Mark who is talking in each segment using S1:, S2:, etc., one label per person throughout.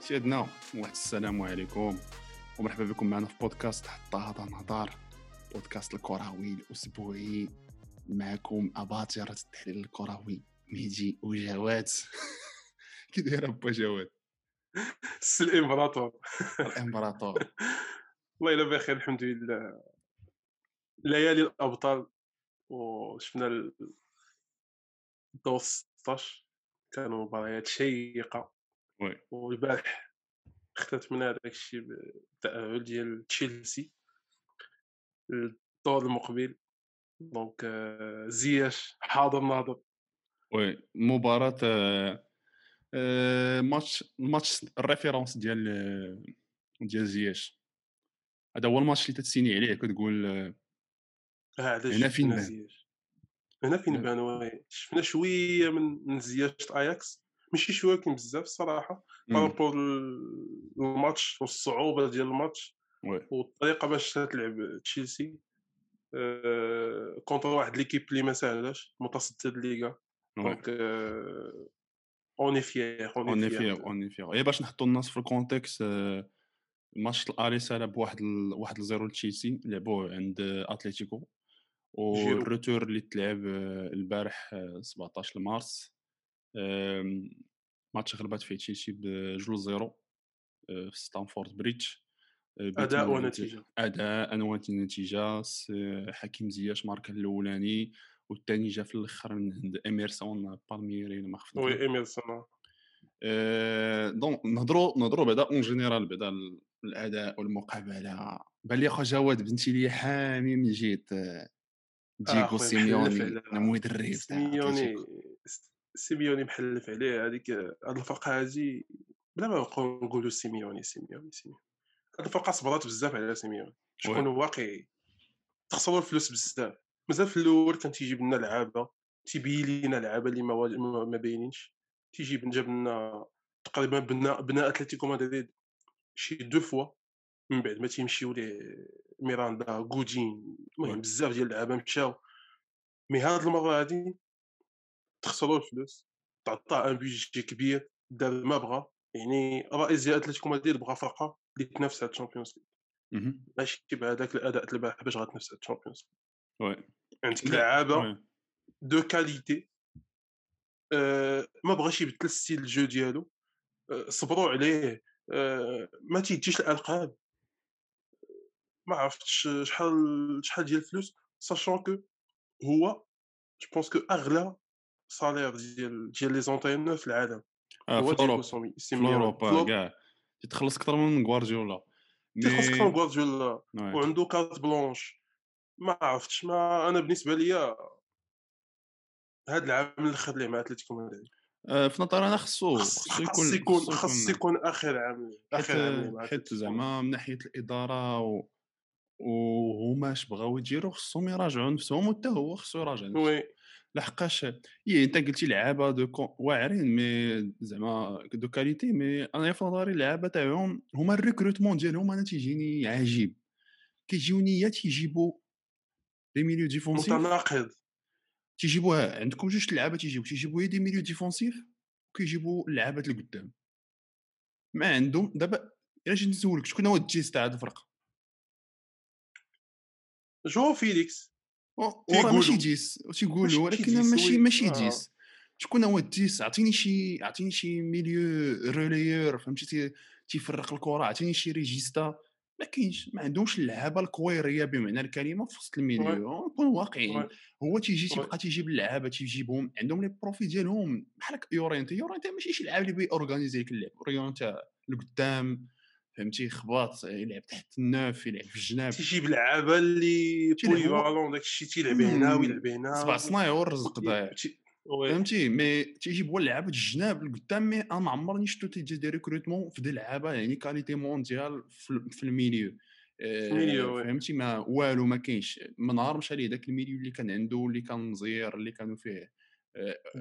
S1: سيدنا واحد السلام عليكم ومرحبا بكم معنا في بودكاست حتى هذا نهضر بودكاست الكروي الاسبوعي معكم اباطره التحليل الكروي مهدي وجواد كي داير با جواد
S2: السي الامبراطور
S1: الامبراطور
S2: والله الا بخير الحمد لله ليالي الابطال وشفنا الدور 16 كانوا مباريات شيقه
S1: وي.
S2: والبارح ختتمنا داك الشيء بالتاهل ديال تشيلسي الدور المقبل دونك آه، زياش حاضر ناظر
S1: وي مباراة آه، آه، ماتش الماتش الريفيرونس ديال آه، ديال زياش هذا هو الماتش اللي تتسيني عليه كتقول آه،
S2: آه، علاش
S1: هنا فين
S2: شفنا
S1: بان.
S2: زياش هنا فين
S1: هنا-
S2: بان وي شفنا شويه من من زياش اياكس ماشي شواكين بزاف الصراحه
S1: مم،
S2: بارابور ل- الماتش والصعوبه ديال الماتش
S1: وي
S2: والطريقه باش تلعب تشيلسي آه، كونتر واحد ليكيب اللي ما ساهلاش متصدر الليغا
S1: وي
S2: دونك آه، اوني فيير
S1: اوني فيغ اوني فيغ هي إيه، باش نحطوا الناس في الكونتكست آه، ماتش الاريسا لعب واحد ال- واحد لزيرو لتشيلسي لعبوه عند آه، اتليتيكو
S2: جيرو.
S1: والروتور اللي تلعب آه، البارح آه، 17 مارس آم، ماتش غلبات فيه تشيلسي بجوج زيرو آه، في ستانفورد بريدج آه، بيت
S2: اداء
S1: من-
S2: ونتيجه
S1: اداء انوات النتيجه س- حكيم زياش ماركا الاولاني والثاني جا في الاخر من عند اميرسون بالميري ما خفت
S2: وي ايميرسون
S1: آه، دونك نهضروا نهضروا بعدا اون جينيرال بعدا ال- الاداء والمقابله بان لي اخو جواد بنتي لي حامي من جهه آه، ديغو
S2: أخويا
S1: سيميوني
S2: محلف على-
S1: المدرب تاع
S2: سيميوني
S1: أتليتيكو.
S2: سيميوني محلف عليه هذيك هاد الفرقه هادي بلا ما نبقاو نقولوا سيميوني سيميوني سيميوني هاد الفرقه صبرات بزاف على سيميوني باش
S1: وي.
S2: نكونوا واقعي تخسروا الفلوس بزاف مازال في الاول كان تيجيب لنا لعابه تيبين لينا لعابه اللي ما, وا- ما- ما باينينش تيجيب جاب لنا تقريبا بناء بناء اتلتيكو مدريد شي دو فوا من بعد ما تيمشيو ليه ميراندا غودين
S1: وي.
S2: المهم بزاف ديال اللعابه مشاو مي هاد المره هادي تخسروا الفلوس تعطاه ان بيجي كبير دار ما بغى يعني رئيس ديال اتلتيكو مدريد بغى فرقه اللي تنافس على الشامبيونز ليغ
S1: مهم.
S2: ماشي بهذاك الاداء تاع البارح باش غتنافس على الشامبيونز
S1: وي
S2: ليغ عندك
S1: لا،
S2: لعابه
S1: وي.
S2: دو كاليتي آه، Euh, ما بغاش يبدل ستيل الجو ديالو آه، صبروا عليه آه، ما تيجيش الالقاب ما عرفتش شحال شحال ديال الفلوس ساشون كو هو جو بونس كو اغلى سالير ديال ديال لي زونترينور في العالم
S1: آه،
S2: هو
S1: في
S2: تيجو
S1: اوروبا
S2: سومي
S1: في اوروبا كاع تتخلص اكثر من غوارديولا
S2: تيخلص كون
S1: مي-
S2: غوارديولا
S1: وي.
S2: وعنده كارت بلونش ما عرفتش ما انا بالنسبه ليا هاد العام الاخر اللي مع اتلتيكو مدريد
S1: آه، في نظري انا خصو
S2: خص
S1: خصو
S2: خص يكون خص يكون يعني، اخر عام ليه،
S1: حيت
S2: اخر عام ليه مع
S1: حيت
S2: أتلتيكو.
S1: زعما من ناحيه الاداره و... وهما اش بغاو يديروا خصهم يراجعوا نفسهم وحتى هو خصو يراجع نفسه
S2: وي
S1: لحقاش إيه انت قلتي لعابه دو كو- واعرين مي زعما دو كاليتي مي انا في نظري اللعابه تاعهم هما الريكروتمون ديالهم انا تيجيني عجيب كيجيوني يا تيجيبوا دي ميليو ديفونسيف
S2: متناقض
S1: تيجيبوها عندكم جوج لعابه تيجيبوا تيجيبوا يا دي ميليو ديفونسيف وكيجيبوا اللعابه اللي قدام ما عندهم دابا الا جيت نسولك شكون هو الجيز تاع هاد الفرقه
S2: جو فيليكس
S1: و- وراه ماشي
S2: تيقولوا.
S1: جيس
S2: ماشي-
S1: تيقولوا
S2: ماشي
S1: ولكن
S2: جيس،
S1: ماشي
S2: وي.
S1: ماشي
S2: آه.
S1: جيس شكون هو الديس عطيني شي عطيني شي ميليو ريليور فهمتي تي- تيفرق الكره عطيني شي ريجيستا ما كاينش ما عندهمش اللعابه الكويريه بمعنى الكلمه في وسط الميليو نكون واقعيين
S2: وي.
S1: هو تيجي
S2: وي.
S1: تيبقى تيجيب اللعابه تيجيبهم عندهم لي بروفي ديالهم بحال هكا يورينتي يورينتي ماشي شي لعاب اللي بيورغانيزي لك اللعب يورينتي لقدام فهمتي خباط يلعب تحت النوف يلعب في الجناب
S2: تيجيب لعابه اللي
S1: تيلعب
S2: بولي
S1: هو.
S2: فالون داك الشيء تيلعب هنا
S1: مم.
S2: ويلعب هنا
S1: سبع صنايور رزق ضايع
S2: تي- وي.
S1: فهمتي مي تيجيب هو لعابه الجناب لقدام مي انا ما عمرني شفتو تيجي دي ريكروتمون في دي لعابه يعني كاليتي مونديال في ال- في الميليو آه،
S2: الميليو، وي.
S1: فهمتي ما والو ما كاينش من نهار مشى ليه داك الميليو اللي كان عنده اللي كان مزير اللي كانوا فيه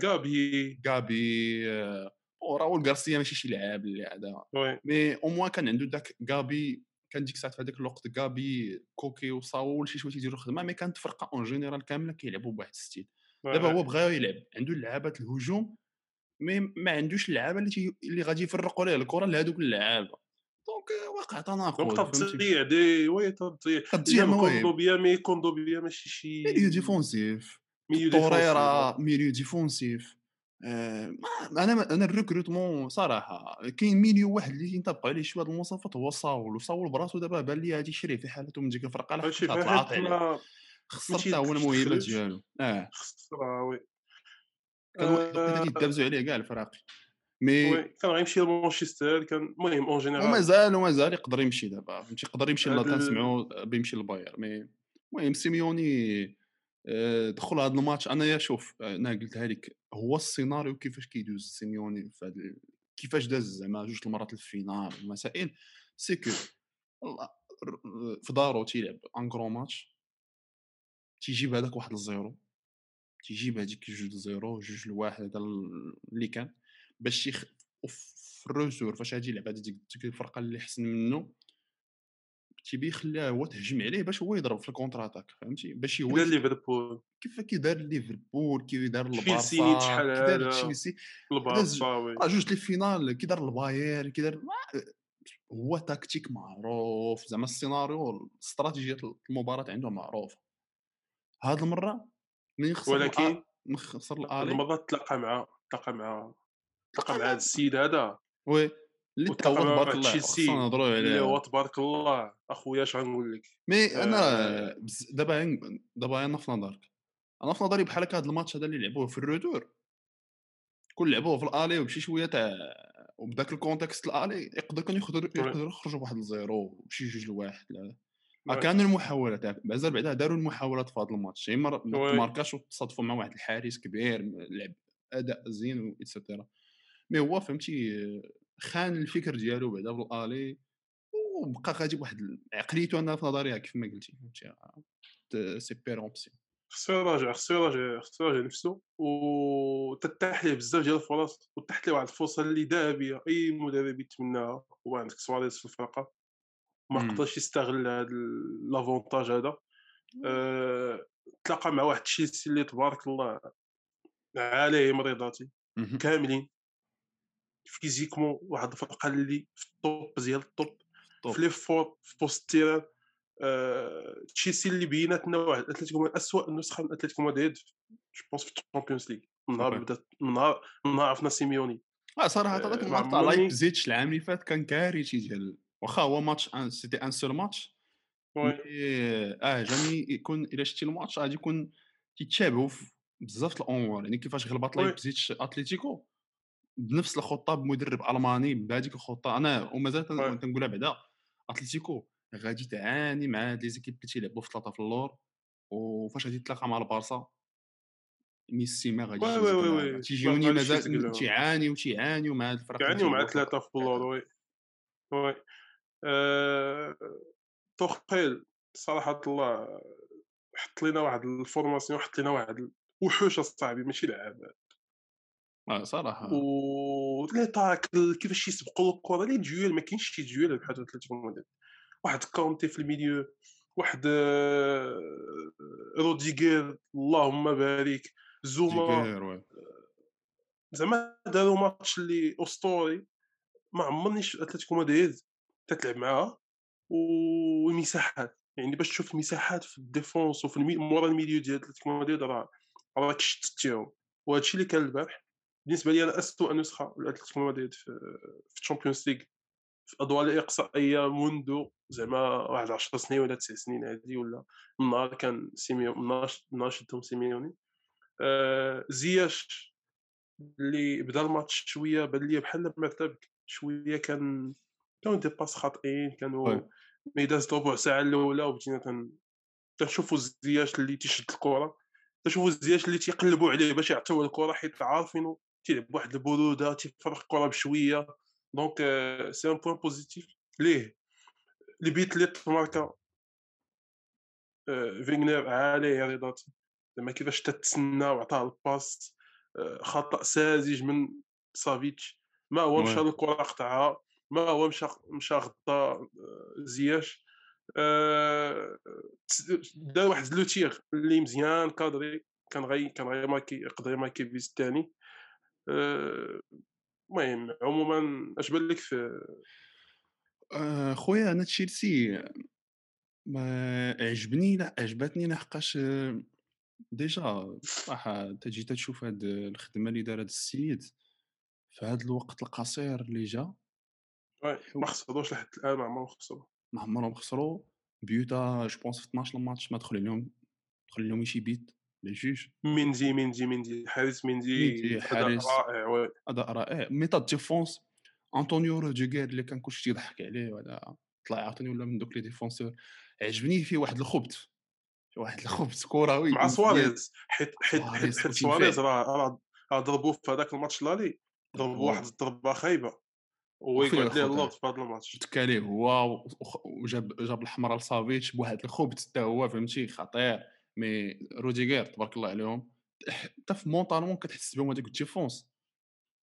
S2: غابي
S1: غابي آه، وراول غارسيا ماشي شي لعاب اللي هذا
S2: وي
S1: مي او موان كان عنده داك غابي كان ديك الساعه في هذاك الوقت غابي كوكي وصاول شي شويه تيديروا خدمه مي كانت فرقه اون جينيرال كامله كيلعبوا بواحد الستيل دابا هو بغا يلعب عنده اللعابات الهجوم مي ما عندوش اللعابه اللي تي... اللي غادي يفرقوا ليه الكره لهذوك اللعابه دونك واقع
S2: غنبقى
S1: تناقض فهمتي إيه؟
S2: تضيع دي وي تضيع
S1: كتجي
S2: إلا ما
S1: مواهب
S2: كوندوبيا مي كوندوبيا ماشي شي
S1: ميليو ديفونسيف
S2: ميليو آه.
S1: طوريرا ميليو ديفونسيف آه، ما انا انا الريكروتمون صراحه كاين ميليو واحد اللي تنطبقوا عليه شويه هاد المواصفات هو صاول وصاول براسو دابا بان لي غادي يشري في حالته من ديك الفرقه
S2: هادشي
S1: لحقاش
S2: فيها
S1: غتعاطي
S2: حيت
S1: عليه
S2: ما
S1: خسر
S2: ماشي
S1: حتى هو
S2: يدخل
S1: الموهبه
S2: تخرج.
S1: ديالو اه
S2: خسرها وي
S1: كان واحد الوقيته
S2: آه،
S1: تيدابزوا عليه كاع الفراقي مي
S2: وي كان غيمشي لمانشستر كان المهم اون جينيرال
S1: ومازال ومازال يقدر يمشي دابا فهمتي يقدر يمشي
S2: هاد
S1: لا
S2: ال-
S1: تنسمعوا بيمشي للباير مي المهم سيميوني آه، دخل هذا الماتش انايا شوف آه، انا قلتها لك هو السيناريو كيفاش كيدوز سيميوني في هاد ال- كيفاش داز زعما جوج المرات الفينال المسائل سي كو الله- ر- في دارو تيلعب ان كرو ماتش تيجيب هذاك واحد الزيرو تيجيب هذيك جوج لزيرو جوج لواحد هذا ال- اللي كان باش يخ وف- في الروسور فاش غادي يلعب هاد ديك ديك الفرقه اللي احسن منه تيبي يخليها هو تهجم عليه باش هو يضرب في الكونتر اتاك فهمتي باش هو
S2: الى
S1: يخ-
S2: ليفربول
S1: كيف كي دار ليفربول كي دار
S2: تشيلسي
S1: البارسا
S2: شحال
S1: كي دار
S2: هذا.
S1: تشيلسي داز-
S2: البارسا وي
S1: راه آه، جوج لي فينال كي دار الباير كي دار آه، هو تكتيك معروف زعما السيناريو استراتيجيه المباراه عنده معروفه هاد المره من يخسر
S2: ولكن
S1: الآ- من يخسر
S2: هاد
S1: الالي
S2: المره تلاقى مع تلاقى مع تلاقى مع هذا السيد هذا
S1: وي اللي تا
S2: وتلاقى
S1: هو
S2: مع
S1: تبارك الله
S2: تشيلسي
S1: خصنا نهضروا
S2: اللي
S1: عليه
S2: هو تبارك الله اخويا اش غنقول لك
S1: مي انا
S2: آه.
S1: بز- دابا عن- دابا انا في نظرك انا في نظري بحال هكا هاد الماتش هذا اللي لعبوه في الرودور كون لعبوه في الالي وبشي شويه تاع وبداك الكونتكست الالي يقدر كانوا يقدروا يقدروا يخرجوا بواحد الزيرو وشي جوج لواحد لا راه
S2: وي.
S1: كانوا آه، المحاولات يعني بعدا بعدا داروا المحاولات في هذا الماتش يا اما را- ما
S2: وي.
S1: تماركاش وتصادفوا مع واحد الحارس كبير م- لعب اداء زين و اتسترا مي هو فهمتي خان الفكر ديالو بعدا بالالي وبقى غادي بواحد ال- عقليته انا في نظري كيف ما قلتي فهمتي آه، ت- سي بير اوبسيون
S2: خصو يراجع خصو يراجع خصو يراجع نفسه وتتاح ليه بزاف ديال الفرص وتتاح ليه واحد الفرصه اللي ذهبيه اي مدرب يتمناها هو عندك سواريز في الفرقه ما
S1: مم.
S2: قدرش يستغل هذا لافونتاج هذا أه... تلاقى مع واحد تشيلسي اللي تبارك الله عليه مريضاتي
S1: مهم.
S2: كاملين فيزيكمون واحد الفرقه اللي في الطوب ديال الطوب
S1: طوب.
S2: في لي فور في بوست التيران آه، تشيلسي اللي بيناتنا واحد اتلتيكو مدريد اسوء نسخه من اتلتيكو مدريد جو بونس في الشامبيونز ليغ من نهار
S1: أوكي.
S2: بدات من نهار من نهار عرفنا سيميوني
S1: اه صراحه هذاك
S2: آه،
S1: الماتش تاع
S2: معمولي-
S1: لايبزيتش العام اللي فات كان كارثي ديال واخا هو ماتش آه، ان سيتي ان سول ماتش
S2: وي.
S1: مي اه جامي يكون الا شتي الماتش غادي يكون تيتشابهوا في بزاف د الامور يعني كيفاش غلبات
S2: وي.
S1: لايبزيتش اتليتيكو بنفس الخطه بمدرب الماني بهذيك الخطه انا ومازال
S2: وي.
S1: تن- تنقولها بعدا اتليتيكو غادي تعاني مع هاد لي زيكيب اللي تيلعبوا في ثلاثه في اللور وفاش غادي تلاقى مع البارسا ميسي ما غاديش
S2: وي- وي-
S1: يزيد
S2: وي-
S1: لها.
S2: وي. ما
S1: تيجيوني
S2: غاديش يزيد
S1: مازال
S2: لها.
S1: تيعانيو تيعانيو مع هاد الفرق اللي
S2: يعني مع
S1: تيلعبوا في
S2: ثلاثه في
S1: الأرض.
S2: اللور وي وي آه، توقيل صراحه الله حط لنا واحد الفورماسيون حط لنا واحد ال- وحوش صاحبي ماشي لعاب
S1: اه صراحه
S2: و لي طاك كيفاش يسبقوا الكره لي ديول ما كاينش شي ديول بحال اتلتيكو مدريد واحد كونتي في الميليو واحد آه، روديغير اللهم بارك زوما
S1: ديكير، وي.
S2: زعما داروا ماتش اللي اسطوري ما عمرنيش اتلتيكو مدريد تتلعب معاها ومساحات يعني باش تشوف المساحات في الديفونس وفي المي... مورا الميليو ديال اتلتيكو مدريد راه راه كشتتيهم وهادشي اللي كان البارح بالنسبه لي انا اسوء نسخه لاتلتيكو مدريد في في الشامبيونز ليغ في الادوار الاقصائيه منذ زعما واحد 10 سنين ولا 9 سنين هذه ولا من نهار كان سيميوني من نهار من نهار شدهم سيميوني آه زياش اللي بدا الماتش شويه بان لي بحال ما ارتبك شويه كان كانوا دي باس خاطئين كانوا
S1: وي.
S2: ما يداز ربع ساعه الاولى وبدينا تن- تنشوفوا الزياش اللي تيشد الكره تنشوفوا الزياش اللي تيقلبوا عليه باش يعطيوه الكره حيت عارفينو تيلعب بواحد البروده تيفرق الكره بشويه دونك آه، سي ان بوين بوزيتيف ليه البيت اللي تماركا آه، فيغنير عالي يا رضاتي زعما كيفاش تتسنى وعطاه الباس آه، خطا ساذج من سافيتش ما هو
S1: وي.
S2: مشى للكره قطعها ما هو مشى مشى غطى آه، زياش آه، تس- دار واحد لوتيغ اللي مزيان كادري كان غي كان غي ماركي يقدر يماركي بيز الثاني آه، المهم عموما اش بان لك في
S1: آه، خويا انا تشيلسي ما عجبني لا عجبتني لحقاش آه، ديجا صراحه انت جيت تشوف هاد الخدمه اللي دار هاد السيد في هاد الوقت القصير اللي جا
S2: واي،
S1: حو-
S2: آه، ما خسروش لحد الان ما عمرهم خسروا
S1: ما عمرهم خسروا بيوتا جو بونس في 12 ماتش ما دخل لهم دخل لهم شي بيت لا جوج
S2: مينزي مينزي مينزي حارس مينزي
S1: مينزي،
S2: اداء
S1: حارس.
S2: رائع واي.
S1: اداء رائع إيه، ميتا ديفونس انطونيو روديغير اللي كان كلشي تيضحك عليه ولا طلع عاوتاني ولا من دوك لي ديفونسور عجبني فيه واحد الخبث فيه واحد الخبث كروي
S2: مع
S1: مزيان.
S2: سواريز حيت حيت حيت
S1: سواريز
S2: حيت
S1: وتينفع.
S2: سواريز راه راه- راه ضربوه في هذاك الماتش لالي ضربوا
S1: هو
S2: واحد الضربه خايبه ويقعد
S1: أخويا
S2: ليه
S1: الخطأ.
S2: اللوط في هذا الماتش
S1: تك عليه هو و- وخ- وجاب جاب الحمراء لسافيتش بواحد الخبث حتى هو فهمتي خطير مي روديغير تبارك الله عليهم حتى في مونطالمون كتحس بهم هذيك الديفونس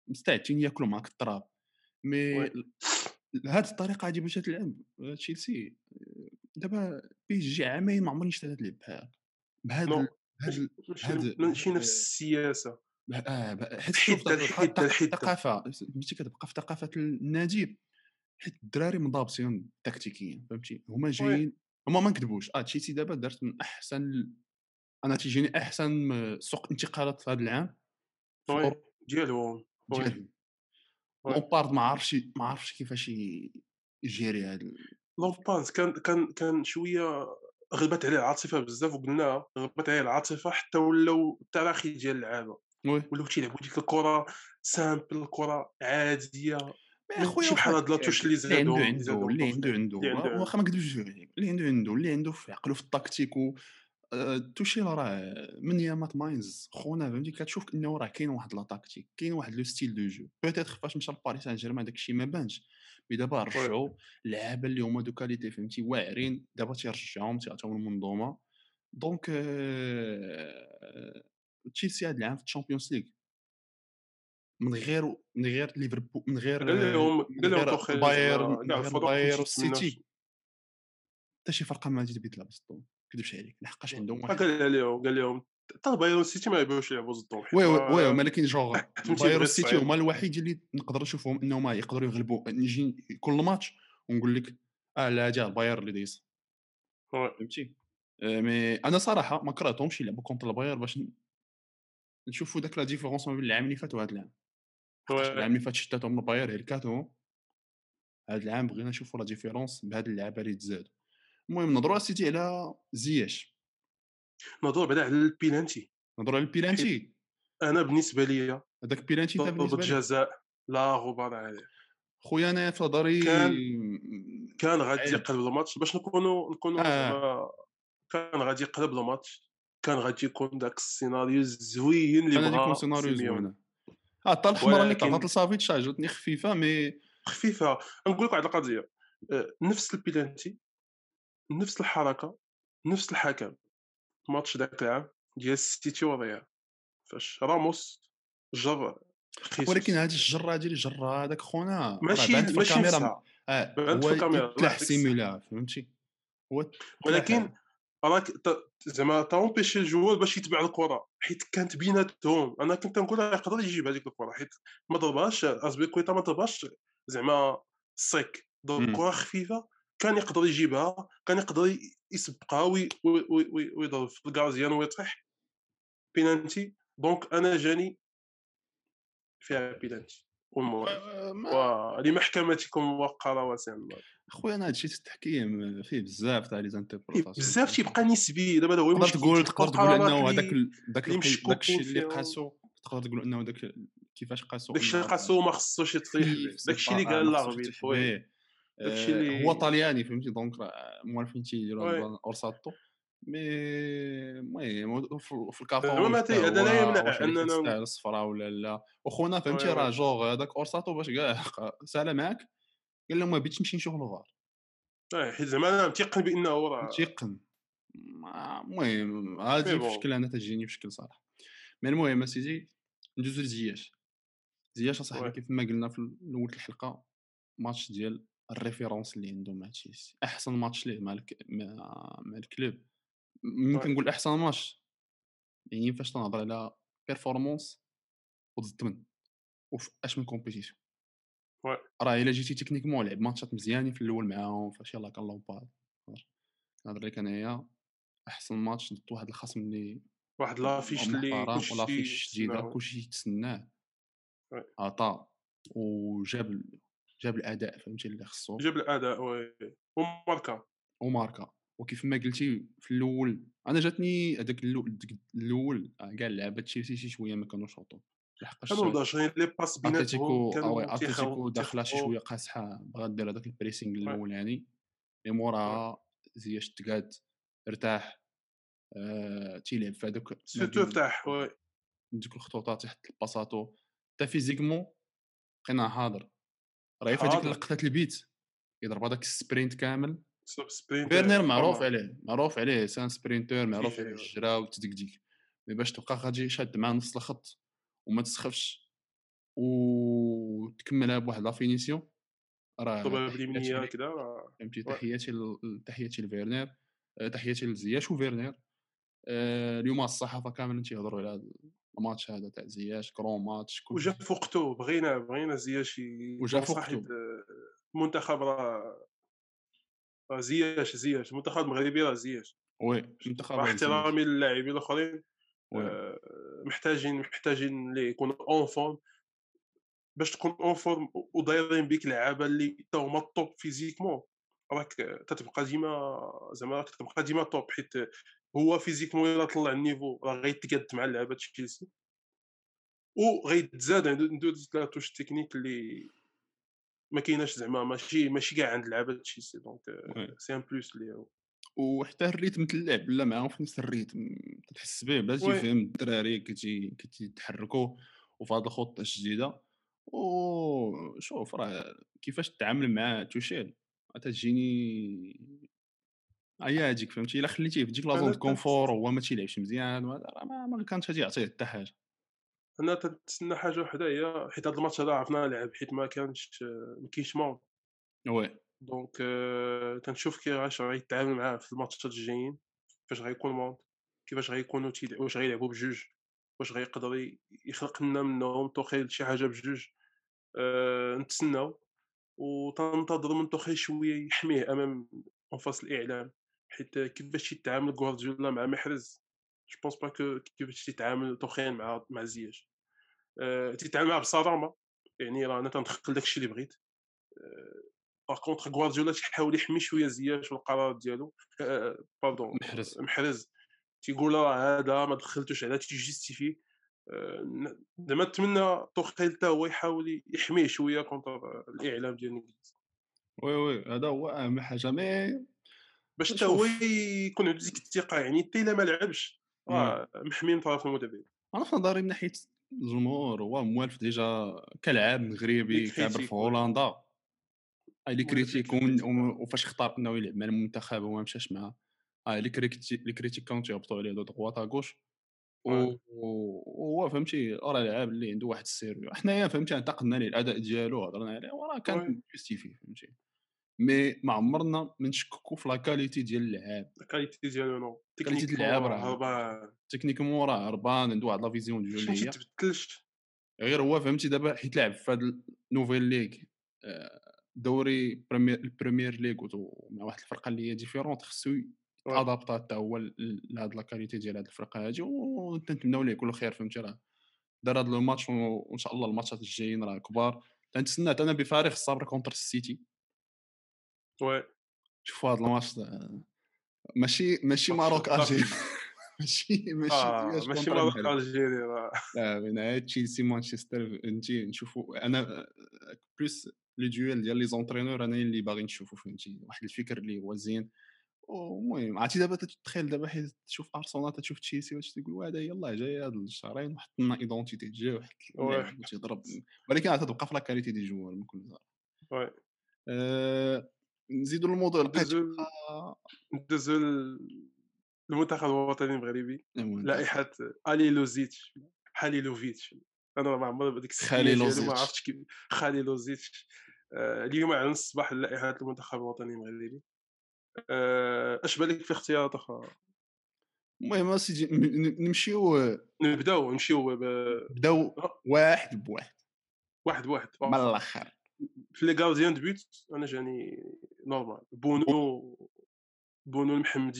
S1: مستعدين ياكلوا معاك التراب مي
S2: وي.
S1: ال- هاد الطريقه هادي باش تلعب تشيلسي آه، دابا بي اس جي عامين ما عمرني شفت تلعب بها بهاد
S2: نو
S1: ال- هاد ال-
S2: ماشي
S1: هاد آه،
S2: ن- ماشي نفس السياسه
S1: ب- اه ب- حيت شوف
S2: الحده
S1: تبقى
S2: الحده
S1: الثق-
S2: الحده
S1: الثقافه ملي كتبقى في ثقافه النادي حيت الدراري مضابطين تكتيكيا فهمتي هما
S2: وي
S1: جايين هما ما نكذبوش اه تشيلسي دابا دارت من احسن ال- انا تيجيني احسن م- سوق انتقالات في هذا العام في
S2: وي
S1: اوروبا
S2: ديالهم وي
S1: ديالهم
S2: وي
S1: لومبارد ما عرفش ما عرفش كيفاش ي- يجيري هذا ال-
S2: لومبانز كان كان كان شويه غلبت عليه العاطفه بزاف وقلناها غلبت عليه العاطفه حتى ولاو التراخي ديال اللعابه
S1: وي
S2: ولاو تيلعبوا ديك الكره سامبل الكره عاديه
S1: ما خويا
S2: ماشي بحال
S1: واخا
S2: هاد لاتوش اللي
S1: اللي عنده
S2: زادهم اللي
S1: عنده
S2: زادهم
S1: اللي
S2: طوف
S1: عنده عنده
S2: اللي عنده
S1: واخا
S2: عنده
S1: ما نكذبوش عليك اللي عنده عنده اللي عنده في عقله في التكتيك و آه، توشيل راه من يامات ماينز خونا فهمتي كتشوف انه راه كاين واحد لا تاكتيك كاين واحد لو ستيل دو جو بوتيت فاش مشى لباريس سان جيرمان داك الشيء ما بانش مي دابا
S2: وي
S1: رجعوا اللعابه اللي هما دو كاليتي فهمتي واعرين دابا تيرجعهم تيعطيهم المنظومه دونك آه، تشيلسي هاد العام في الشامبيونز ليغ من غير من غير ليفربول من غير
S2: قال لهم
S1: من
S2: قال لهم آه، نعم،
S1: غير
S2: توخيز
S1: البايرن
S2: راه
S1: من غير
S2: كاع الفرق ما
S1: الباير
S2: تيتمناوش
S1: والسيتي حتى شي فرقه ما تبيت لعبت ضدهم كذبش عليك لحقاش عندهم واحد
S2: قال لهم قال لهم حتى البايرن سيتي ما يبغيوش يلعبوا ضدهم حيت آه،
S1: وي وي وي
S2: راه
S1: ولكن جوغ
S2: حتمتي
S1: الباير
S2: بغير
S1: والسيتي
S2: صعيب
S1: هما الوحيدين اللي نقدر نشوفهم انهم يقدروا يغلبوا نجي كل ماتش ونقول لك اه لا جا الباير اللي دايس
S2: وي
S1: فهمتي آه، مي انا صراحه ما كرهتهمش يلعبوا كونتر الباير باش ن- نشوفوا داك لا ديفيرونس ما بين العام اللي فات وهذا العام لحقاش
S2: وي
S1: العام اللي فات شتاتهم الباير هلكاتهم هذا العام بغينا نشوفوا لا ديفيرونس بهاد اللعابه اللي تزادوا المهم نهضروا اسيتي على زياش
S2: نهضروا بعدا على البيلانتي
S1: نهضروا على
S2: حيت
S1: البيلانتي
S2: انا بالنسبه ليا
S1: هذاك البيلانتي انت
S2: ضربة
S1: بالنسبه لك
S2: جزاء لا غبار عليه
S1: خويا انا في نظري
S2: كان
S1: م-
S2: كان غادي
S1: عيب
S2: يقلب الماتش باش نكونوا نكونوا
S1: اه
S2: زعما كان غادي يقلب الماتش كان غادي يكون داك السيناريو الزوين اللي
S1: كان غادي يكون
S2: بغا
S1: سيناريو
S2: سيميوني
S1: زوين اه حتى الحمراء اللي تعطات
S2: ولكن
S1: لصافيتش عجبتني خفيفه مي
S2: خفيفه نقول لك واحد القضيه آه، نفس البيلانتي نفس الحركه نفس الحكم ماتش ذاك العام ديال السيتي والريال فاش راموس جر
S1: ولكن
S2: خيسوس
S1: هذه الجره هذه اللي جرها هذاك خونا راه
S2: ماشي
S1: بانت في
S2: ماشي
S1: الكاميرا م-
S2: نفسها
S1: اه
S2: بانت في
S1: هو
S2: الكاميرا الله
S1: تلاح
S2: يعطيك الصحه
S1: سيمولا فهمتي هو تلاح
S2: ولكن راك ت- زعما تاومبيشي الجوال باش يتبع الكره حيت كانت بيناتهم انا كنت نقول راه يقدر يجيب هذيك الكره حيت ما ضربهاش ازبيكويتا ما ضربهاش زعما السيك ضرب
S1: مم.
S2: كره خفيفه كان يقدر يجيبها كان يقدر ي- يسبقها وي- وي- وي- وي- ويضرب في الكازيان ويطيح بينالتي دونك انا جاني فيها بينالتي والموعد
S1: آه، ما
S2: ولمحكمتكم وقرارات الله
S1: خويا انا هادشي التحكيم فيه بزاف تاع لي زانتربروتاسيون
S2: إيه، بزاف تيبقى نسبي دابا هذا هو
S1: تقدر
S2: المشكل
S1: تقول
S2: تيبقى
S1: تقدر تقول
S2: القرارات
S1: انه هذاك
S2: اللي
S1: ال- داك
S2: اللي
S1: القي- داك
S2: مشكوكين
S1: الشيء اللي
S2: فيها
S1: قاسو تقدر تقول انه داك ال- كيفاش قاسو
S2: داكشي
S1: انه
S2: اللي
S1: راه
S2: قاسو ما خصوش يطيح
S1: خفيف
S2: به داكشي طيب، اللي
S1: سباقه
S2: قال
S1: ما خصوش
S2: لاغبي
S1: يطيح
S2: وي
S1: به
S2: داكشي
S1: إيه. آه، هو
S2: اللي
S1: طلياني فهمتي دونك آه، راه موالفين تيديروا هاد
S2: وي
S1: البلان اورساتو مي المهم هو في في
S2: زعما
S1: الكاطونج
S2: ما
S1: حتى
S2: تي هذا
S1: هو
S2: لا
S1: واش عليك
S2: يمنع اننا
S1: تستاهل الصفراء ولا لا وخونا
S2: وي
S1: فهمتي
S2: وي
S1: راه جوغ هذاك اورساتو باش كاع سالا معاك قال لهم ما بغيتش نمشي نشوف الفار
S2: وي، إيه، حيت زعما انا متيقن بانه راه
S1: متيقن ما- المهم
S2: مي
S1: هادي في
S2: بون
S1: شكل انا تجيني في شكل صراحه مي المهم اسيدي ندوزو لزياش زياش
S2: وي
S1: اصاحبي كيف ما قلنا في الاول الحلقه ماتش ديال الريفيرونس اللي عنده مع تشيلسي احسن ماتش ليه مع الك... مع, مع الكلوب
S2: وي
S1: ممكن نقول احسن ماتش يعني فاش تنهضر على بيرفورمانس وضد الثمن وفي اش من كومبيتيسيون
S2: وي.
S1: راه الا جيتي تكنيكمون لعب ماتشات مزيانين في الاول معاهم فاش يلاه كان لومبارد نهضر لك انايا احسن ماتش ضد واحد الخصم اللي
S2: واحد لافيش اللي
S1: محترم
S2: كلشي
S1: ولا فيش جديده
S2: يتسناو.
S1: كلشي يتسناه
S2: وي.
S1: عطا وجاب ال- جاب الاداء فهمتي اللي خصو
S2: جاب الاداء وي وماركا
S1: وماركا وكيف ما قلتي في الاول انا جاتني هذاك اللو- ديك الاول آه، كاع اللعابه تشيلسي شي شويه ما كانوش شوطو لحقاش
S2: كانوا ضاجرين لي باس بيناتهم
S1: اتلتيكو
S2: كانوا
S1: اه اتلتيكو
S2: تيخاو-
S1: داخله شي
S2: تيخاو.
S1: شويه قاسحه بغات دير هذاك البريسينغ الاولاني اللي موراها زياش تقاد ارتاح آه، تيلعب في هذوك
S2: سيرتو ارتاح وي
S1: ديك الخطوطه تحت الباساتو حتى فيزيكمون بقينا حاضر راه في هذيك
S2: حاضر.
S1: لقطه البيت يضرب هذاك السبرينت كامل
S2: سوب سبرينت
S1: فيرنير معروف عليه معروف عليه سان سبرينتور معروف
S2: فيه-
S1: عليه الجرا وتدقديك مي باش تبقى غادي شاد مع نص الخط وما تسخفش وتكملها بواحد لافينيسيون راه
S2: طبعا
S1: تحياتي
S2: باليمنيه
S1: ليه،
S2: كذا
S1: فهمتي
S2: واه.
S1: تحياتي ل- تحياتي لفيرنير آه، تحياتي لزياش وفيرنير آه، اليوم الصحافه كاملين تيهضروا على هاد الماتش هذا تاع زياش كرون ماتش كل
S2: وجا في وقته بغينا بغينا زياش ي-
S1: وجا في
S2: صاحب
S1: وقته.
S2: آه، المنتخب راه راه زياش زياش المنتخب المغربي راه زياش
S1: وي منتخب
S2: مع
S1: عين سميث.
S2: احترامي للاعبين الاخرين
S1: وي.
S2: آه، محتاجين محتاجين اللي يكونوا اون فورم باش تكون اون فورم ودايرين بيك لعابه اللي تا هما الطوب فيزيكمون راك تتبقى ديما زعما راك تتبقى ديما توب حيت هو فيزيكمون الا طلع النيفو راه غيتقاد مع لعابه تشيلسي وغيتزاد عنده عنده ديك لا توش تكنيك اللي ما كايناش زعما ماشي ماشي كاع عند لعابه تشيلسي دونك آه،
S1: وي.
S2: سي ان بلوس اللي هو
S1: وحتى الريتم تاع اللعب لا معاهم في نفس الريتم تحس به بلا
S2: وي.
S1: تيفهم الدراري كتي كتيتحركوا وفي هاد الخطه الجديده وشوف راه كيفاش تتعامل مع توشيل تجيني هي هاديك فهمتي الا خليتيه في ديك
S2: أنا
S1: لازون
S2: تنت-
S1: كونفور وهو ما تيلعبش مزيان وهذا راه ما- ما كانش غادي يعطيه حتى حاجه
S2: انا تنتسنى حاجه وحده هي حيت هذا الماتش هذا عرفنا نلعب حيت ما كانش ما كاينش مون
S1: وي
S2: دونك آه، تنشوف كيفاش غيتعامل معاه في الماتشات الجايين كيفاش غيكون مونت كيفاش غيكونوا تيلع- واش غيلعبوا بجوج واش غيقدر ي- يخلق لنا منهم توخيل شي حاجه بجوج أه نتسناو وتنتظر من توخيل شويه يحميه امام انفاس الاعلام حيت كيفاش يتعامل غوارديولا مع محرز جو بونس با كو كيفاش يتعامل توخيل مع مع زياش أه تيتعامل معاه بصرامه يعني راه انا تنخلق داكشي اللي بغيت آه، باغ كونتخ غوارديولا تيحاول يحمي شويه زياش والقرارات ديالو آه، باردون
S1: محرز
S2: محرز تيقول راه هذا ما دخلتوش على تيجيستيفي آه، ن- زعما نتمنى توخيل حتى هو يحاول يحميه شويه كونتر الاعلام ديال الانجليز
S1: وي وي هذا هو اهم حاجه مي
S2: باش حتى هو
S1: نشوف.
S2: يكون عنده ديك الثقه يعني حتى الا ما لعبش راه محمي من طرف المدرب
S1: انا في نظري من ناحيه الجمهور هو موالف ديجا كلاعب مغربي
S2: لي
S1: كيعبر
S2: كريتيك،
S1: في
S2: وي.
S1: هولندا هاي لي
S2: موالف لي
S1: كريتيك
S2: كريتيك،
S1: ومن- وفاش اختار انه يلعب مع المنتخب وما مشاش معاه هاي لي كريتيك لي كريتيك كانوا تيهبطوا عليه دو دغواط غوش
S2: وي.
S1: وهو فهمتي راه لاعب اللي عنده واحد السيريو حنايا فهمتي انتقدنا ليه الاداء ديالو هضرنا عليه وراه كان
S2: وي.
S1: جوستيفي فهمتي مي ما عمرنا ما نشككوا في لا كاليتي ديال اللاعب
S2: الكاليتي ديالو نو
S1: كاليتي
S2: تكنيكمون
S1: اللعاب راه
S2: هربان
S1: تكنيكمون راه هربان عنده واحد لا فيزيون ديال
S2: باش ما
S1: اللي هي
S2: تتبدلش
S1: غير هو فهمتي دابا حيت لعب في هاد النوفيل ليغ آه، دوري بريمير البريمير ليغ وتو- مع واحد الفرقه اللي هي ديفيرونت خصو ادابتا حتى هو ل- لهاد لا كاليتي ديال هاد الفرقه هادي وتنتمناو ليه كل خير فهمتي راه دار هاد لو ماتش و- وان شاء الله الماتشات الجايين راه كبار تنتسنى حتى انا بفارغ الصبر كونتر السيتي
S2: وي
S1: شوفوا هاد الماتش ده. ماشي ماشي ماروك
S2: ماتش
S1: الجيري ماشي ماشي
S2: آه،
S1: زياش
S2: ماشي
S1: كونتر
S2: مرة
S1: المغرب.
S2: الجيري راه
S1: لا من عاد تشيلسي مانشستر نجي نشوفوا انا بلوس لي دويل ديال لي زونترينور انا اللي باغي نشوفو فهمتي واحد الفكر اللي هو زين المهم عرفتي دابا تتخيل دابا حيت تشوف ارسنال تشوف تشيلسي واش تقول هذا يلاه جاي هاد الشهرين وحط لنا ايدونتيتي جا وحط
S2: وي.
S1: اللاعب اللي تيضرب ولكن عاد تبقى في لا كاليتي ديال الجوار من كل زار
S2: وي.
S1: أه نزيدو الموضوع لقيت
S2: ندوزو ندوزو ل- المنتخب الوطني المغربي لائحه اليلوزيتش حاليلوفيتش انا ما عمري بديك
S1: خليلوزيتش.
S2: ما عرفتش كيف خاليلوزيتش آه، اليوم على الصباح لائحه المنتخب الوطني المغربي آه، اش بالك في اختيارات اخرى
S1: المهم اسيدي ن- ن- نمشيو
S2: نبداو نمشيو ب-
S1: بداو واحد بواحد
S2: واحد واحد
S1: من الاخر
S2: في لي غارديان دو بيوت انا جاني نورمال بونو بونو المحمدي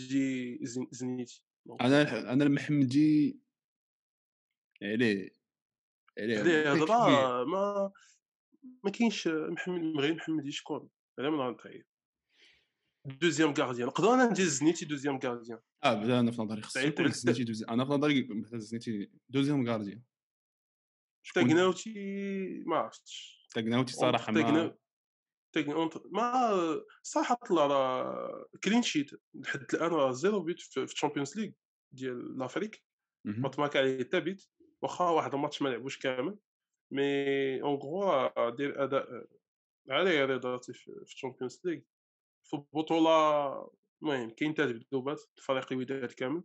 S2: زين- زنيتي
S1: انا انا المحمدي عليه عليه
S2: عليه
S1: بكبير.
S2: هضره ما ما كاينش محمد من غير محمد شكون على من غنطير دوزيام غارديان نقدر انا ندير زنيتي دوزيام غارديان
S1: اه بدا انا في نظري خصو
S2: بعيد
S1: يكون
S2: على
S1: زنيتي دوزي انا في نظري محتاج زنيتي دوزيام غارديان شكون-
S2: تاكناوتي ما عرفتش
S1: تاكناوتي صراحه ما
S2: تاكنا- تاكنا- أونت- ما صراحه طلع راه كلين شيت لحد الان راه زيرو بيت في الشامبيونز ليغ ديال لافريك
S1: مهم.
S2: ما تمارك عليه حتى بيت واخا واحد الماتش ما لعبوش كامل مي اون غوا دير اداء عالي رضاتي في الشامبيونز ليغ في البطوله المهم كاين تذبذبات الفريق الوداد كامل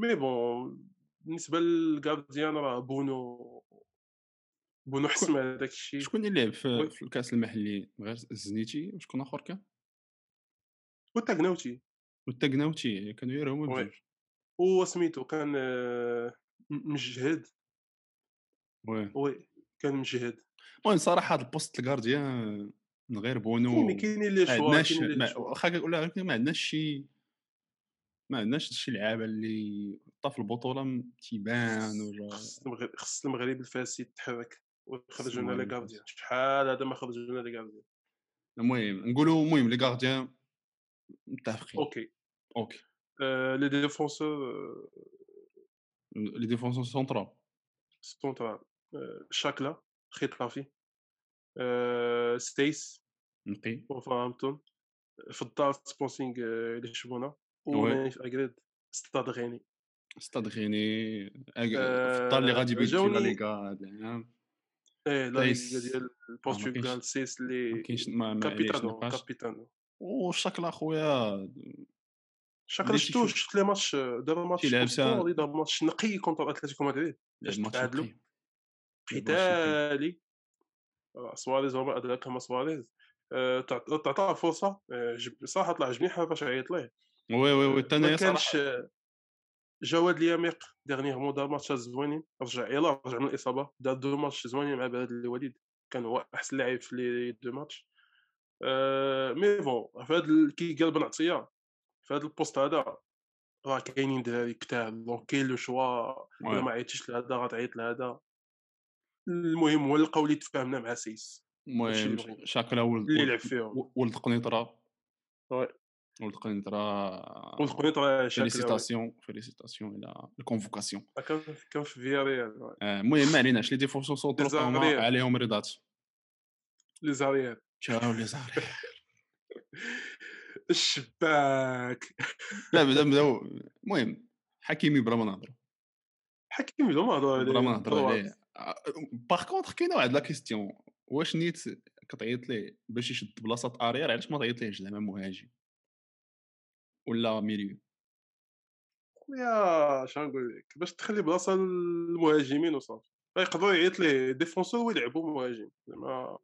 S2: مي بون بالنسبه للغارديان راه بونو بونو حسم على داك الشيء
S1: شكون اللي لعب في
S2: وي.
S1: في الكاس المحلي غير زنيتي وشكون اخر كان
S2: وتاكناوتي
S1: والتاكناوتي كانوا غير هما
S2: وي.
S1: بجوج
S2: هو سميتو كان آه، م- مجهد
S1: وي
S2: وي كان مجهد
S1: المهم صراحه هاد البوست الكارديان من غير بونو
S2: كاين كاينين لي
S1: ما
S2: شوا
S1: عندناش
S2: كاينين لي
S1: آه، ما-
S2: شوا
S1: واخا كنقول لك ما عندناش شي ما عندناش شي لعابه اللي طاف البطوله م- تيبان ولا
S2: خص المغرب خص المغرب الفاسي يتحرك
S1: خص
S2: ويخرج لنا
S1: المغرب
S2: لي
S1: الفاسد.
S2: غارديان شحال هذا ما خرج لنا لي غارديان
S1: المهم نقولوا المهم لي غارديان متفقين
S2: اوكي
S1: اوكي
S2: آه، لي ديفونسور آه،
S1: لي ديفونسور سونترال
S2: سونترال آه، شاكلا خطافي آه، ستيس
S1: نقي
S2: وفهمتون في الدار سبونسينغ آه، لي شبونه
S1: وي.
S2: ومانيف اكريد ستاد غيني
S1: استاد غيني أك-
S2: آه،
S1: في الدار اللي غادي يبيت فيه لا
S2: جاوني-
S1: ليغا هذا العام
S2: ايه لا
S1: سيس.
S2: ليغا ديال البرتغال سيس
S1: ما
S2: اللي
S1: كاينش ما ما عليهش
S2: كابيتانو
S1: نقاش
S2: كابيتانو
S1: وشكل اخويا
S2: شاك
S1: بديتي
S2: شفتو
S1: تشوف- إيه،
S2: شفت لي ماتش دابا ماتش
S1: لعب سا-
S2: اسطوري دابا ماتش نقي كونتر اتلتيكو مدريد
S1: لعب
S2: باش
S1: ماتش
S2: تتعادلوا.
S1: نقي. لعب ماتش نقي.
S2: قتالي آه، سواريز هو اداء كما سواريز آه، تعط- تعطاه فرصه آه، جب- صراحه طلع جميع فاش عيط ليه
S1: وي وي وي
S2: ما
S1: الثاني
S2: كانش آه، جواد اليميق ديغنيغمون دار ماتش زوينين رجع يلا رجع من الاصابه دار دو ماتش زوينين مع بلاد الوليد كان هو احسن لاعب في لي دو ماتش آه، مي بون في هذا ال- كي قال بن عطيه في هذا البوست هذا راه كاينين دراري كتار دونك كاين لو شوا الا ما عيطتش لهذا غتعيط لهذا المهم هو لقاو اللي تفاهمنا مع سيس هادشي اللي
S1: المهم
S2: بغيت.
S1: شاكلا ولد
S2: اللي لعب فيهم
S1: و- ولد قنيطره
S2: وي.
S1: ولد قنيطره
S2: والقنيط راه شاكل
S1: فيليسيتاسيون فيليسيتاسيون على الكونفوكاسيون
S2: كان كان في فياريال وي.
S1: آه، Euh, المهم ما عليناش لي ديفونسور سونترو
S2: زارير.
S1: فهما عليهم رضات
S2: لي زاريال
S1: شاو لي زهري
S2: الشباك
S1: لا بدا بداو المهم حكيمي بلا ما نهضرو
S2: حكيم لهم هضروا عليه
S1: بلا ما نهضرو
S2: طبعاً.
S1: عليه آه، باغ كونتخ كاينه واحد لا كيستيون واش نيت كتعيط ليه باش يشد بلاصه ارير علاش ما تعيط زعما مهاجم ولا ميليو
S2: خويا شنو نقول لك باش تخلي بلاصه للمهاجمين وصافي يقدروا يعيط ليه ديفونسور ويلعبوا مهاجم زعما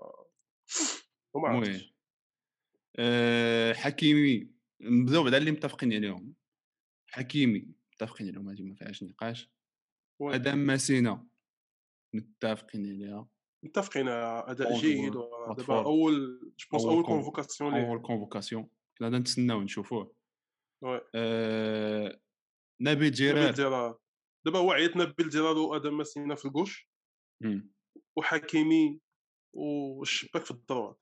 S2: وما
S1: المهم.
S2: عرفتش
S1: أه، حكيمي نبداو بعدا اللي متفقين عليهم حكيمي متفقين عليهم هذه ما فيهاش نقاش
S2: وي.
S1: ادم ماسينا متفقين عليها
S2: متفقين على اداء
S1: أول
S2: جيد
S1: جول،
S2: و- آه، دابا
S1: متفور.
S2: اول جوبونس
S1: أول
S2: اول
S1: كونف-
S2: كونفوكاسيون ليه
S1: اول كونفوكاسيون كنا غادي نتسناو نشوفوه
S2: وي.
S1: أه، نبيل
S2: نبيل
S1: جيرار
S2: ديرار دابا هو عيطنا بالديرار وادم مسينا في الكوش
S1: مم.
S2: وحكيمي والشباك في الدروات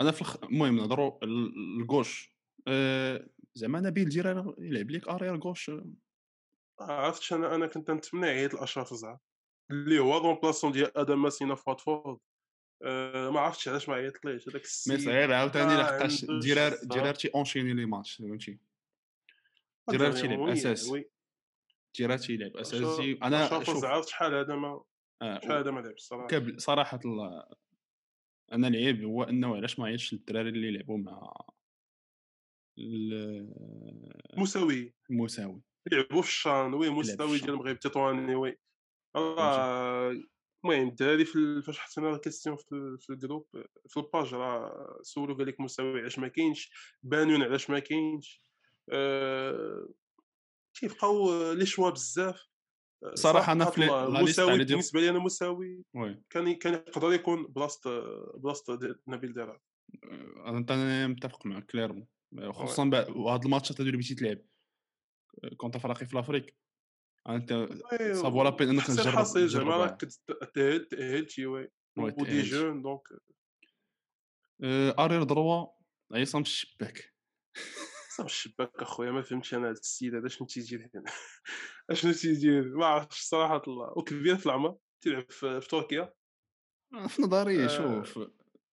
S1: انا في الخ... المهم نهضروا الكوش أه، زعما نبيل جيرار يلعب ليك ارير غوش
S2: عرفتش انا انا كنت نتمنى عيط لاشرف زعما اللي هو رومبلاسون ديال ادم مسينا في واتفورد أه ما عرفتش علاش ما عيطليش هذاك
S1: مي
S2: السيد
S1: صغير عاوتاني
S2: ما
S1: لحقاش
S2: عندوش
S1: جيرار
S2: الصراحة.
S1: جيرار تيونشيني لي ماتش فهمتي جيرار
S2: هذا
S1: تيلعب
S2: يعني
S1: أساس.
S2: وي.
S1: جيرار تيلعب
S2: أشرف-
S1: اساسي انا
S2: اشرف
S1: شوف
S2: زعما شحال هذا ما
S1: آه،
S2: شحال هذا ما لعبش الصراحه
S1: كاب صراحه ال- انا العيب هو انه علاش ما عيطش للدراري اللي لعبوا مع ال-
S2: مساوي
S1: المساوي
S2: يلعبوا في الشان وي
S1: في
S2: مستوي
S1: الشان.
S2: ديال المغرب تطواني وي راه المهم الدراري في ال- فاش حطينا الكيستيون في, ال- في الجروب في الباج راه سولو قال لك مساوي علاش ما كاينش بانون علاش ما آه، كاينش أه... تيبقاو لي شوا بزاف آه،
S1: صراحة أنا في
S2: الله،
S1: لا ليست
S2: مساوي
S1: على ديال-
S2: بالنسبه لي انا مساوي
S1: وي
S2: كان كان يقدر يكون بلاصه بلاصه د- نبيل درع
S1: آه، انا أنا متفق معك كليرمون خصوصا بعد- وهاد الماتشات هادو اللي بغيتي تلعب آه، كونت افريقي في لافريك انت صافو لا بين انك
S2: حسن
S1: نجرب-
S2: حاصل زعما
S1: نجربها.
S2: راك تاهلت تاهلتي وي
S1: وي،
S2: ودي
S1: تأهلت.
S2: جون دونك
S1: آه، ارير دروا عصام الشباك
S2: صاحب الشباك اخويا ما فهمتش انا هذا السيد هذا شنو تيجي هنا اشنو تيجي ما عرفتش صراحه الله وكبير في العمر تلعب في في تركيا
S1: في نظري
S2: آه،
S1: شوف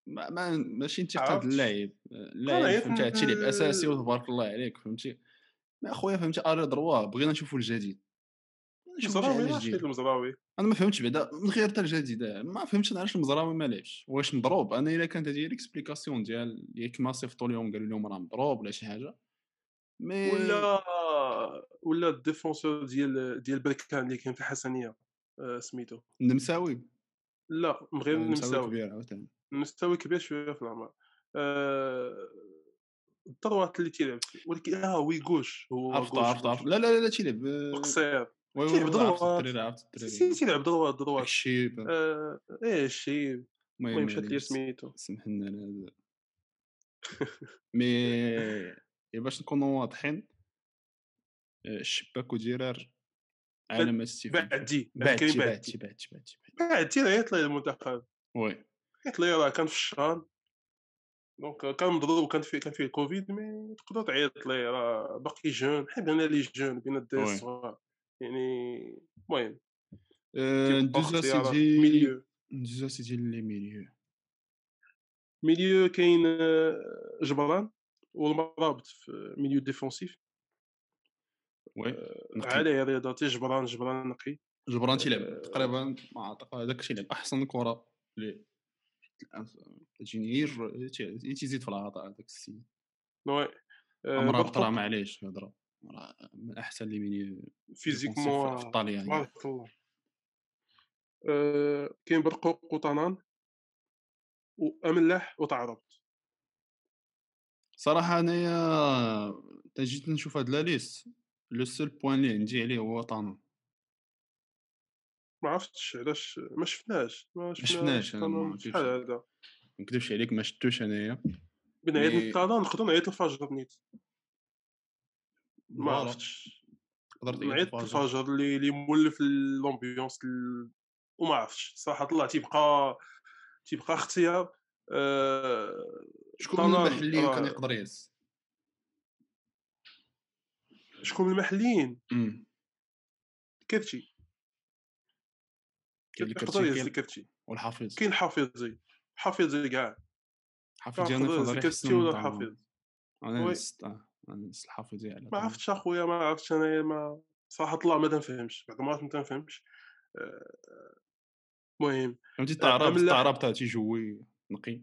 S1: ما ما ماشي انتقاد
S2: عرفت.
S1: اللاعب
S2: أنا
S1: اللاعب
S2: عرفت
S1: فهمتي هادشي لعب
S2: إن-
S1: اساسي وتبارك الله عليك فهمتي ما اخويا فهمتي اري دروا بغينا نشوفوا الجديد نشوف شحال
S2: المزراوي ما عرفتش
S1: يعني، جديد.
S2: المزراوي
S1: انا ما فهمتش بعدا من غير حتى الجديد آه، ما فهمتش انا علاش المزراوي ما لعبش واش مضروب انا الا كانت هذه هي الاكسبليكاسيون ديال ياك ما صيفطوا لهم قالوا لهم راه مضروب ولا شي حاجه مي
S2: ولا ولا الديفونسور ديال ديال بركان اللي كان في الحسنيه آه، سميتو
S1: النمساوي
S2: لا من غير
S1: النمساوي
S2: النمساوي
S1: آه، كبير عاوتاني
S2: المستوى كبير شويه في العمر آه، الدروات اللي تيلعب ولكن اه وي جوش هو
S1: عرفت
S2: جوش،
S1: عرفت
S2: جوش.
S1: عرفت لا لا لا تيلعب آه،
S2: قصير
S1: وي وي وي،
S2: تيلعب
S1: عرفت
S2: دروات.
S1: الدريرة عرفت
S2: سي-
S1: الدريرة
S2: تيلعب دروات دروات
S1: الشيب
S2: آه، ايه شي المهم
S1: المهم يعني
S2: مشات لي
S1: معليش،
S2: سميتو
S1: سمح لنا على هذا مي إيه باش نكونوا واضحين آه، الشباك وديرار عالم السيفون
S2: بعدي
S1: بعدتي
S2: بعدي
S1: بعدتي
S2: بعدي
S1: بعدتي بعدتي بعدتي.
S2: بعدي راه يطلع المنتخب
S1: وي
S2: يطلع راه كان في الشهر دونك آه، كان مضروب كان فيه كان فيه الكوفيد مي تقدر تعيط ليه راه باقي جون حيت بينا لي جون بينا الدراري
S1: وي.
S2: الصغار يعني المهم
S1: آه، ندوزو سيدي
S2: ميليو
S1: ندوزو سيدي لي ميليو
S2: ميليو كاين آه، جبران والمرابط في ميليو ديفونسيف
S1: وي
S2: آه،
S1: نقي.
S2: عليه رضا جبران جبران نقي
S1: جبران تيلعب
S2: آه،
S1: تقريبا ما عطاق هذاك تيلعب احسن كره اللي الآن تجيني غير تي- تيزيد في العطاء هذاك السيد
S2: وي آه،
S1: عمرها
S2: برطو
S1: بطلع معليش الهضره راه من احسن لي ميليو
S2: فيزيكمون آه.
S1: في ايطاليا يعني.
S2: بارك الله آه، كاين برقوق وطنان واملاح وتعربت
S1: صراحه انايا تا جيت نشوف هاد لا ليست لو سول بوان اللي عندي عليه هو طانا
S2: ما عرفتش علاش ما شفناش ما
S1: شفناش، أنا ما
S2: طنان.
S1: عرفتش.
S2: شحال هذا
S1: ما نكذبش عليك ما شفتوش انايا
S2: بنعيط
S1: مي-
S2: للطالة نقدر نعيط الفجر بنيت ما
S1: فوالا.
S2: عرفتش
S1: قدرت إيه
S2: نعيط
S1: تفرج.
S2: الفجر اللي اللي مولف الامبيونس ال- وما عرفتش صراحه الله تيبقى تيبقى اختيار آه،
S1: شكون من
S2: طنان،
S1: المحليين كان
S2: راه-
S1: يقدر يهز
S2: شكون من المحليين
S1: أمم.
S2: كرتي
S1: كاين
S2: يقدر يهز
S1: الكرتي
S2: كرتي
S1: والحافظ
S2: كاين حافظي حافظي كاع
S1: الحافظ ديالنا في
S2: حافظ
S1: نظري
S2: كرتي
S1: أحسن من
S2: ولا
S1: طانا.
S2: الحافظ
S1: انا
S2: وي.
S1: نست آه، انا نست الحافظ ديالي
S2: ما عرفتش اخويا ما عرفتش انا ما صراحه الله ما تنفهمش بعض المرات ما تنفهمش آه، المهم
S1: فهمتي التعراب
S2: أملاح.
S1: التعراب تاع تيجوي آه، نقي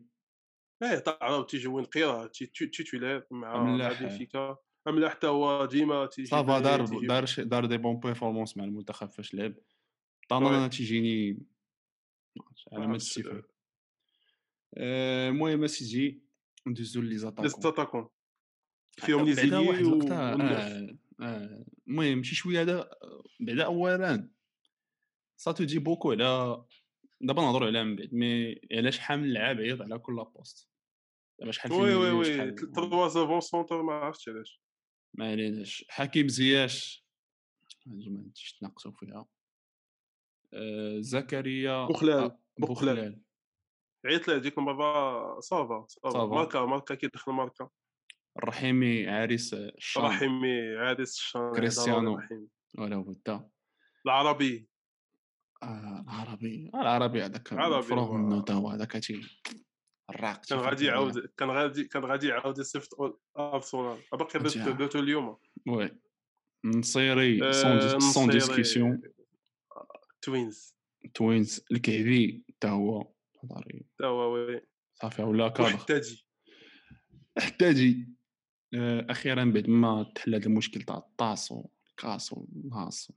S2: لا تعرف إيه، تيجي وين قيرة تي- تي- تيتولير مع مع
S1: أملاح.
S2: بنفيكا املاح حتى هو ديما تيجي
S1: صافا
S2: بالي،
S1: دار
S2: تيجي-
S1: دار شي- دار دي بون بيرفورمانس مع المنتخب فاش لعب
S2: وي.
S1: طانا تيجيني ما عرفتش، على ما
S2: عرفت،
S1: تشوف المهم اسيدي ندوزو لي
S2: لي
S1: زاتاكون
S2: ستاتاكون فيهم لي
S1: بعدا واحد
S2: زيلي
S1: الوقت
S2: وملاح.
S1: آه، آه، المهم شي شويه هذا بعدا اولا سا تو دي بوكو على دابا نهضروا عليها من بعد مي على شحال من لعاب عيط على كل بوست دابا شحال في
S2: وي وي
S1: الميليو،
S2: وي
S1: شحال-
S2: تلوا زافون سونتر ما عرفتش علاش
S1: ما عليناش حكيم زياش هادي ما عنديش تناقصوا فيها آه، زكريا
S2: بوخلال.
S1: آه، بوخلال
S2: عيط له هذيك المره صافا صافا
S1: صافا.
S2: ماركا ماركا كيدخل ماركا
S1: الرحيمي عريس الشام
S2: رحيمي عادس الشان
S1: كريستيانو.
S2: رحيمي.
S1: ولا بد
S2: العربي
S1: آه، العربي آه، العربي هذاك
S2: العربي
S1: مفروغ
S2: هو-
S1: منه تا هو هذاك تي الراق
S2: كان غادي يعاود كان غادي كان غادي يعاود يصيفط ارسنال باقي
S1: أنت عارف.
S2: درتو اليوم
S1: وي نصيري
S2: آه،
S1: سون ديس- سون
S2: نصيري.
S1: ديسكسيون
S2: توينز
S1: توينز الكعبي تا هو هضري.
S2: تا هو وي
S1: صافي ولا كادر
S2: وحتى
S1: احتاجي آه، اخيرا بعد ما تحل هذا المشكل تاع الطاس والكاس والناس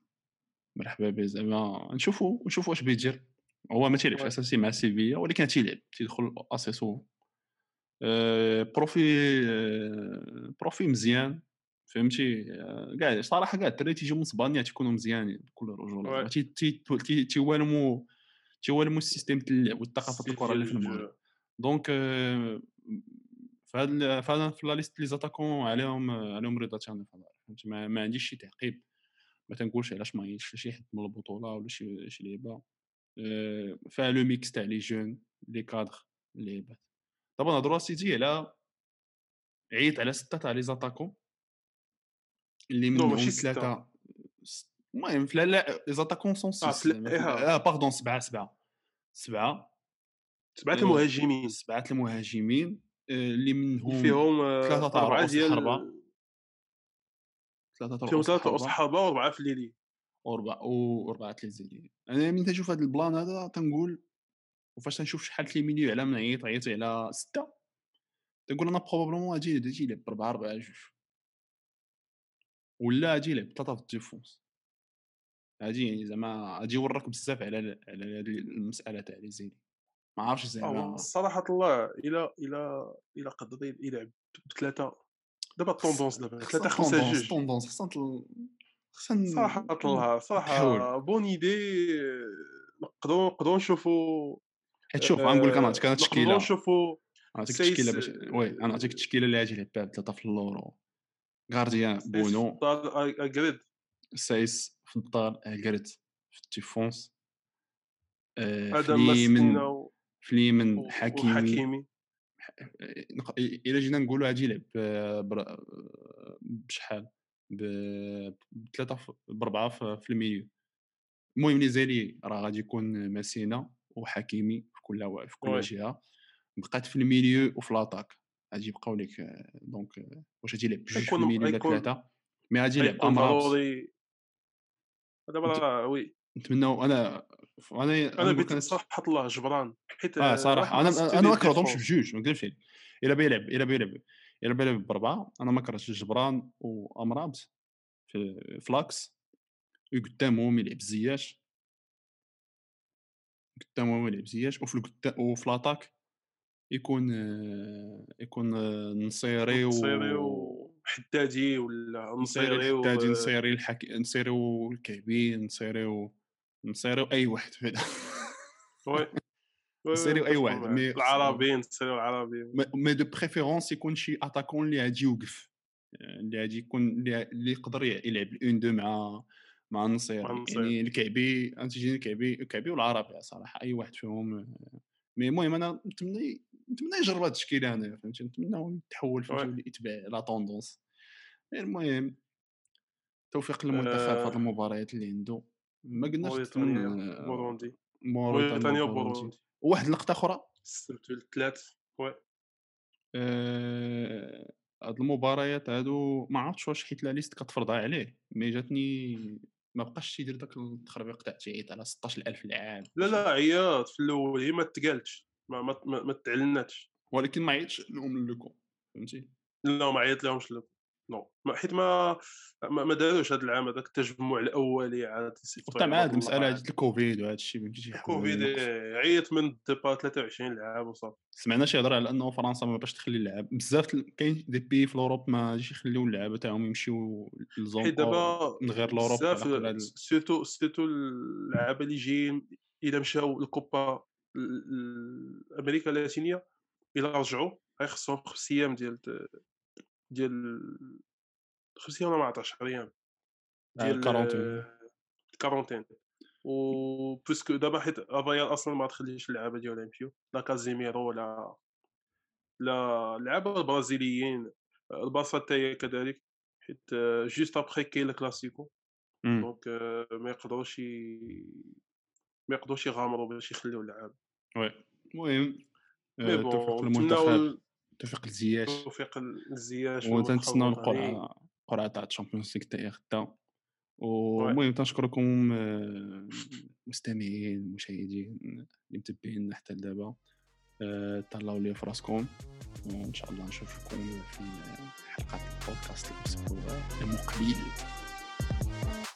S1: مرحبا به زعما نشوفوا نشوفوا واش بيدير هو ما تيلعبش
S2: وي.
S1: اساسي مع سيفيا ولكن تيلعب تيدخل اسيسو آه، بروفي آه، بروفي مزيان فهمتي آه، كاع صراحه كاع الدراري تيجيو من اسبانيا تيكونوا مزيانين بكل رجوله
S2: وي.
S1: تي- تي- تي- تيوالمو تيوالمو السيستيم ديال اللعب والثقافه ديال الكره اللي في المغرب دونك آه، في هاد فهاد في لا ليست لي زاتاكون عليهم آه، عليهم رضا تاني في الهضره فهمتي ما, ما عنديش شي تعقيب ما تنقولش علاش ما يجيش شي حد من البطوله ولا شي شي لعيبه آه، فيها لو ميكس تاع لي جون لي كادر اللعيبات دابا نهضروا سيتي على عيط على سته تاع لي زاتاكون اللي
S2: نو،
S1: منهم
S2: ماشي ستة.
S1: ثلاثه ست- المهم في لا لا لي زاتاكون سون
S2: آه،
S1: سيس
S2: تلا- إيها.
S1: اه باردون سبعه سبعه سبعه
S2: سبعه
S1: آه،
S2: المهاجمين
S1: سبعه المهاجمين آه، اللي منهم
S2: اللي فيهم آه،
S1: ثلاثة تاع
S2: أربعة
S1: رؤوس
S2: ديال
S1: الحربة. ثلاثه تاع
S2: فيهم
S1: رؤوس
S2: ثلاثة
S1: الحربة
S2: أصحابة وأربعة في الليلي
S1: واربعه واربعه تليزيليين انا من تنشوف هذا البلان هذا تنقول وفاش تنشوف شحال لي ميليو على من عيط عيط على سته تنقول انا بروبابلمون غادي غادي يلعب بربعه ربعه جوج ولا غادي يلعب ثلاثه في الديفونس غادي يعني زعما غادي يورك بزاف على ال- على هاد المساله تاع ليزيلي ما عرفتش زعما
S2: أو صراحة الله إلا إلا إلا قدر يلعب بثلاثة دابا الطوندونس دابا ثلاثة خمسة
S1: طوندونس
S2: جوج
S1: طوندونس خصنا نطل- خصنا ن-
S2: صراحة الله صراحة آه،
S1: نحاول.
S2: بون ايدي نقدروا نقدروا نشوفوا
S1: حيت إيه، شوف غنقول لك انا عطيك انا
S2: نقدروا
S1: تشكيله
S2: نشوفوا
S1: نعطيك
S2: سايس-
S1: التشكيله باش وي انا نعطيك التشكيله اللي غادي يلعب بها ثلاثه في اللورو غارديان بونو
S2: اكريد
S1: سايس في الدار الكرت في التيفونس آه، في
S2: ادم ماسكينا
S1: اليمن
S2: و-
S1: في اليمن
S2: و-
S1: حكيمي
S2: وحكيمي
S1: آه، نق- الا جينا نقولوا غادي يلعب آه، بر- آه، بشحال ب- بثلاثه في- بربعه في في الميليو المهم نيزيري راه غادي يكون ماسينا وحكيمي في كل وا- في كل
S2: وي.
S1: جهه بقات في الميليو وفي لاطاك غادي يبقاو لك آه، دونك آه، واش غادي يلعب بجوج في
S2: غيكون-
S1: الميليو ولا
S2: غيكون-
S1: ثلاثه مي غادي يلعب
S2: غيكون
S1: امراض
S2: طيب، ضروري دابا
S1: أنت-
S2: راه وي
S1: نتمناو انا انا
S2: انا
S1: نقول
S2: بيت
S1: كان-
S2: صراحه الله جبران حيت آه،
S1: اه صراحه انا انا ما كرهتهمش
S2: كرهتهمش
S1: بجوج ما يعني. نكذبش عليك الا بيلعب الا بيلعب الا بيلعب بربعه انا ما كرهتش جبران وامرابط في فلاكس وقدامهم يلعب زياش قدامهم يلعب زياش وفي القدا- وفي لاطاك يكون آه، يكون آه، نصيري
S2: نصيري
S1: و
S2: وحدادي ولا نصيري و-
S1: نصيري نصيري الحكي نصيري والكعبي نصيري و... نصيري اي واحد
S2: وي. وي،
S1: نصيري أي
S2: كتكون
S1: واحد،
S2: معاك.
S1: مي-
S2: العربي نصيري العربي
S1: ما- ما دو بريفيرونس يكون شي اتاكون اللي غادي يوقف اللي غادي يكون اللي اللي يقدر يع- يلعب الاون دو مع مع النصير
S2: مع النصير.
S1: يعني الكعبي انت جيني الكعبي الكعبي والعربي صراحه اي واحد فيهم آه، مي المهم انا نتمنى نتمنى يجرب هاد التشكيله هنا فهمتي نتمنى يتحول فهمتي
S2: وي.
S1: ويولي يتبع لا طوندونس المهم توفيق المنتخب في هاد
S2: آه.
S1: المباريات اللي عنده ما قلناش
S2: موريتانيا،
S1: نتمنى-
S2: بوروندي
S1: آه، موريتانيا
S2: موريتانيا
S1: وبوروندي
S2: وبوروندي
S1: واحد اللقطه اخرى
S2: السبت والثلاث وي
S1: آه، هاد المباريات هادو ما عرفتش واش حيت لا ليست كتفرضها عليه مي جاتني ما بقاش تيدير داك التخربيق تاع تيعيط على 16000 لاعب
S2: لا لا عياط في الاول هي ما تقالتش ما ما ما ما تعلناتش
S1: ولكن ما عيطش لهم لوكو فهمتي
S2: لا ما عيط لهمش لا نو ما- حيت ما ما, ما داروش هذا العام هذاك التجمع الاولي عاد يصيفطوا
S1: وبتاع مع هاد
S2: عياط
S1: المساله
S2: الله
S1: هاد الكوفيد وهاد الشيء فهمتي
S2: عاد.
S1: تيحاولوا
S2: كوفيد
S1: يوقفوا.
S2: إيه، عيط من الديبا 23 لعاب وصافي
S1: سمعنا شي هضره على انه فرنسا ما باش تخلي اللعاب بزاف ال- كاين دي بي في الاوروب ما جيش يخليو اللعابه تاعهم يمشيو للزون
S2: حيت دابا
S1: من غير الاوروب
S2: بزاف
S1: على قلال.
S2: سيرتو سيرتو اللعابه اللي جايين الا مشاو الكوبا امريكا اللاتينيه الا رجعوا غيخصهم خمس ايام ديال ديال خمس ايام ولا ما عرفتش ايام
S1: آه،
S2: ديال
S1: الكارونتين.
S2: الكارونتين و بوسكو دابا حيت الريال اصلا ما تخليش اللعابه ديالها يمشيو لا كازيميرو ولا لا اللعابه البرازيليين البارسا حتى هي كذلك حيت آه، جوست ابخي كاين الكلاسيكو
S1: مم.
S2: دونك آه، ما يقدروش ي- ما يقدروش يغامروا باش يخليو اللعابه
S1: وي المهم
S2: مي
S1: آه، توفيق
S2: بون
S1: المنتخب
S2: نتمناو
S1: توفيق لزياش
S2: توفيق الزياش
S1: وتنتسناو
S2: والمنتخب الوطني.
S1: القرعه القرعه تاع الشامبيونز ليغ تاع غدا والمهم تنشكركم آه، المستمعين المشاهدين اللي متبعين حتى لدابا آه، تهلاو لي في راسكم وان شاء الله نشوفكم في حلقه البودكاست الاسبوع المقبل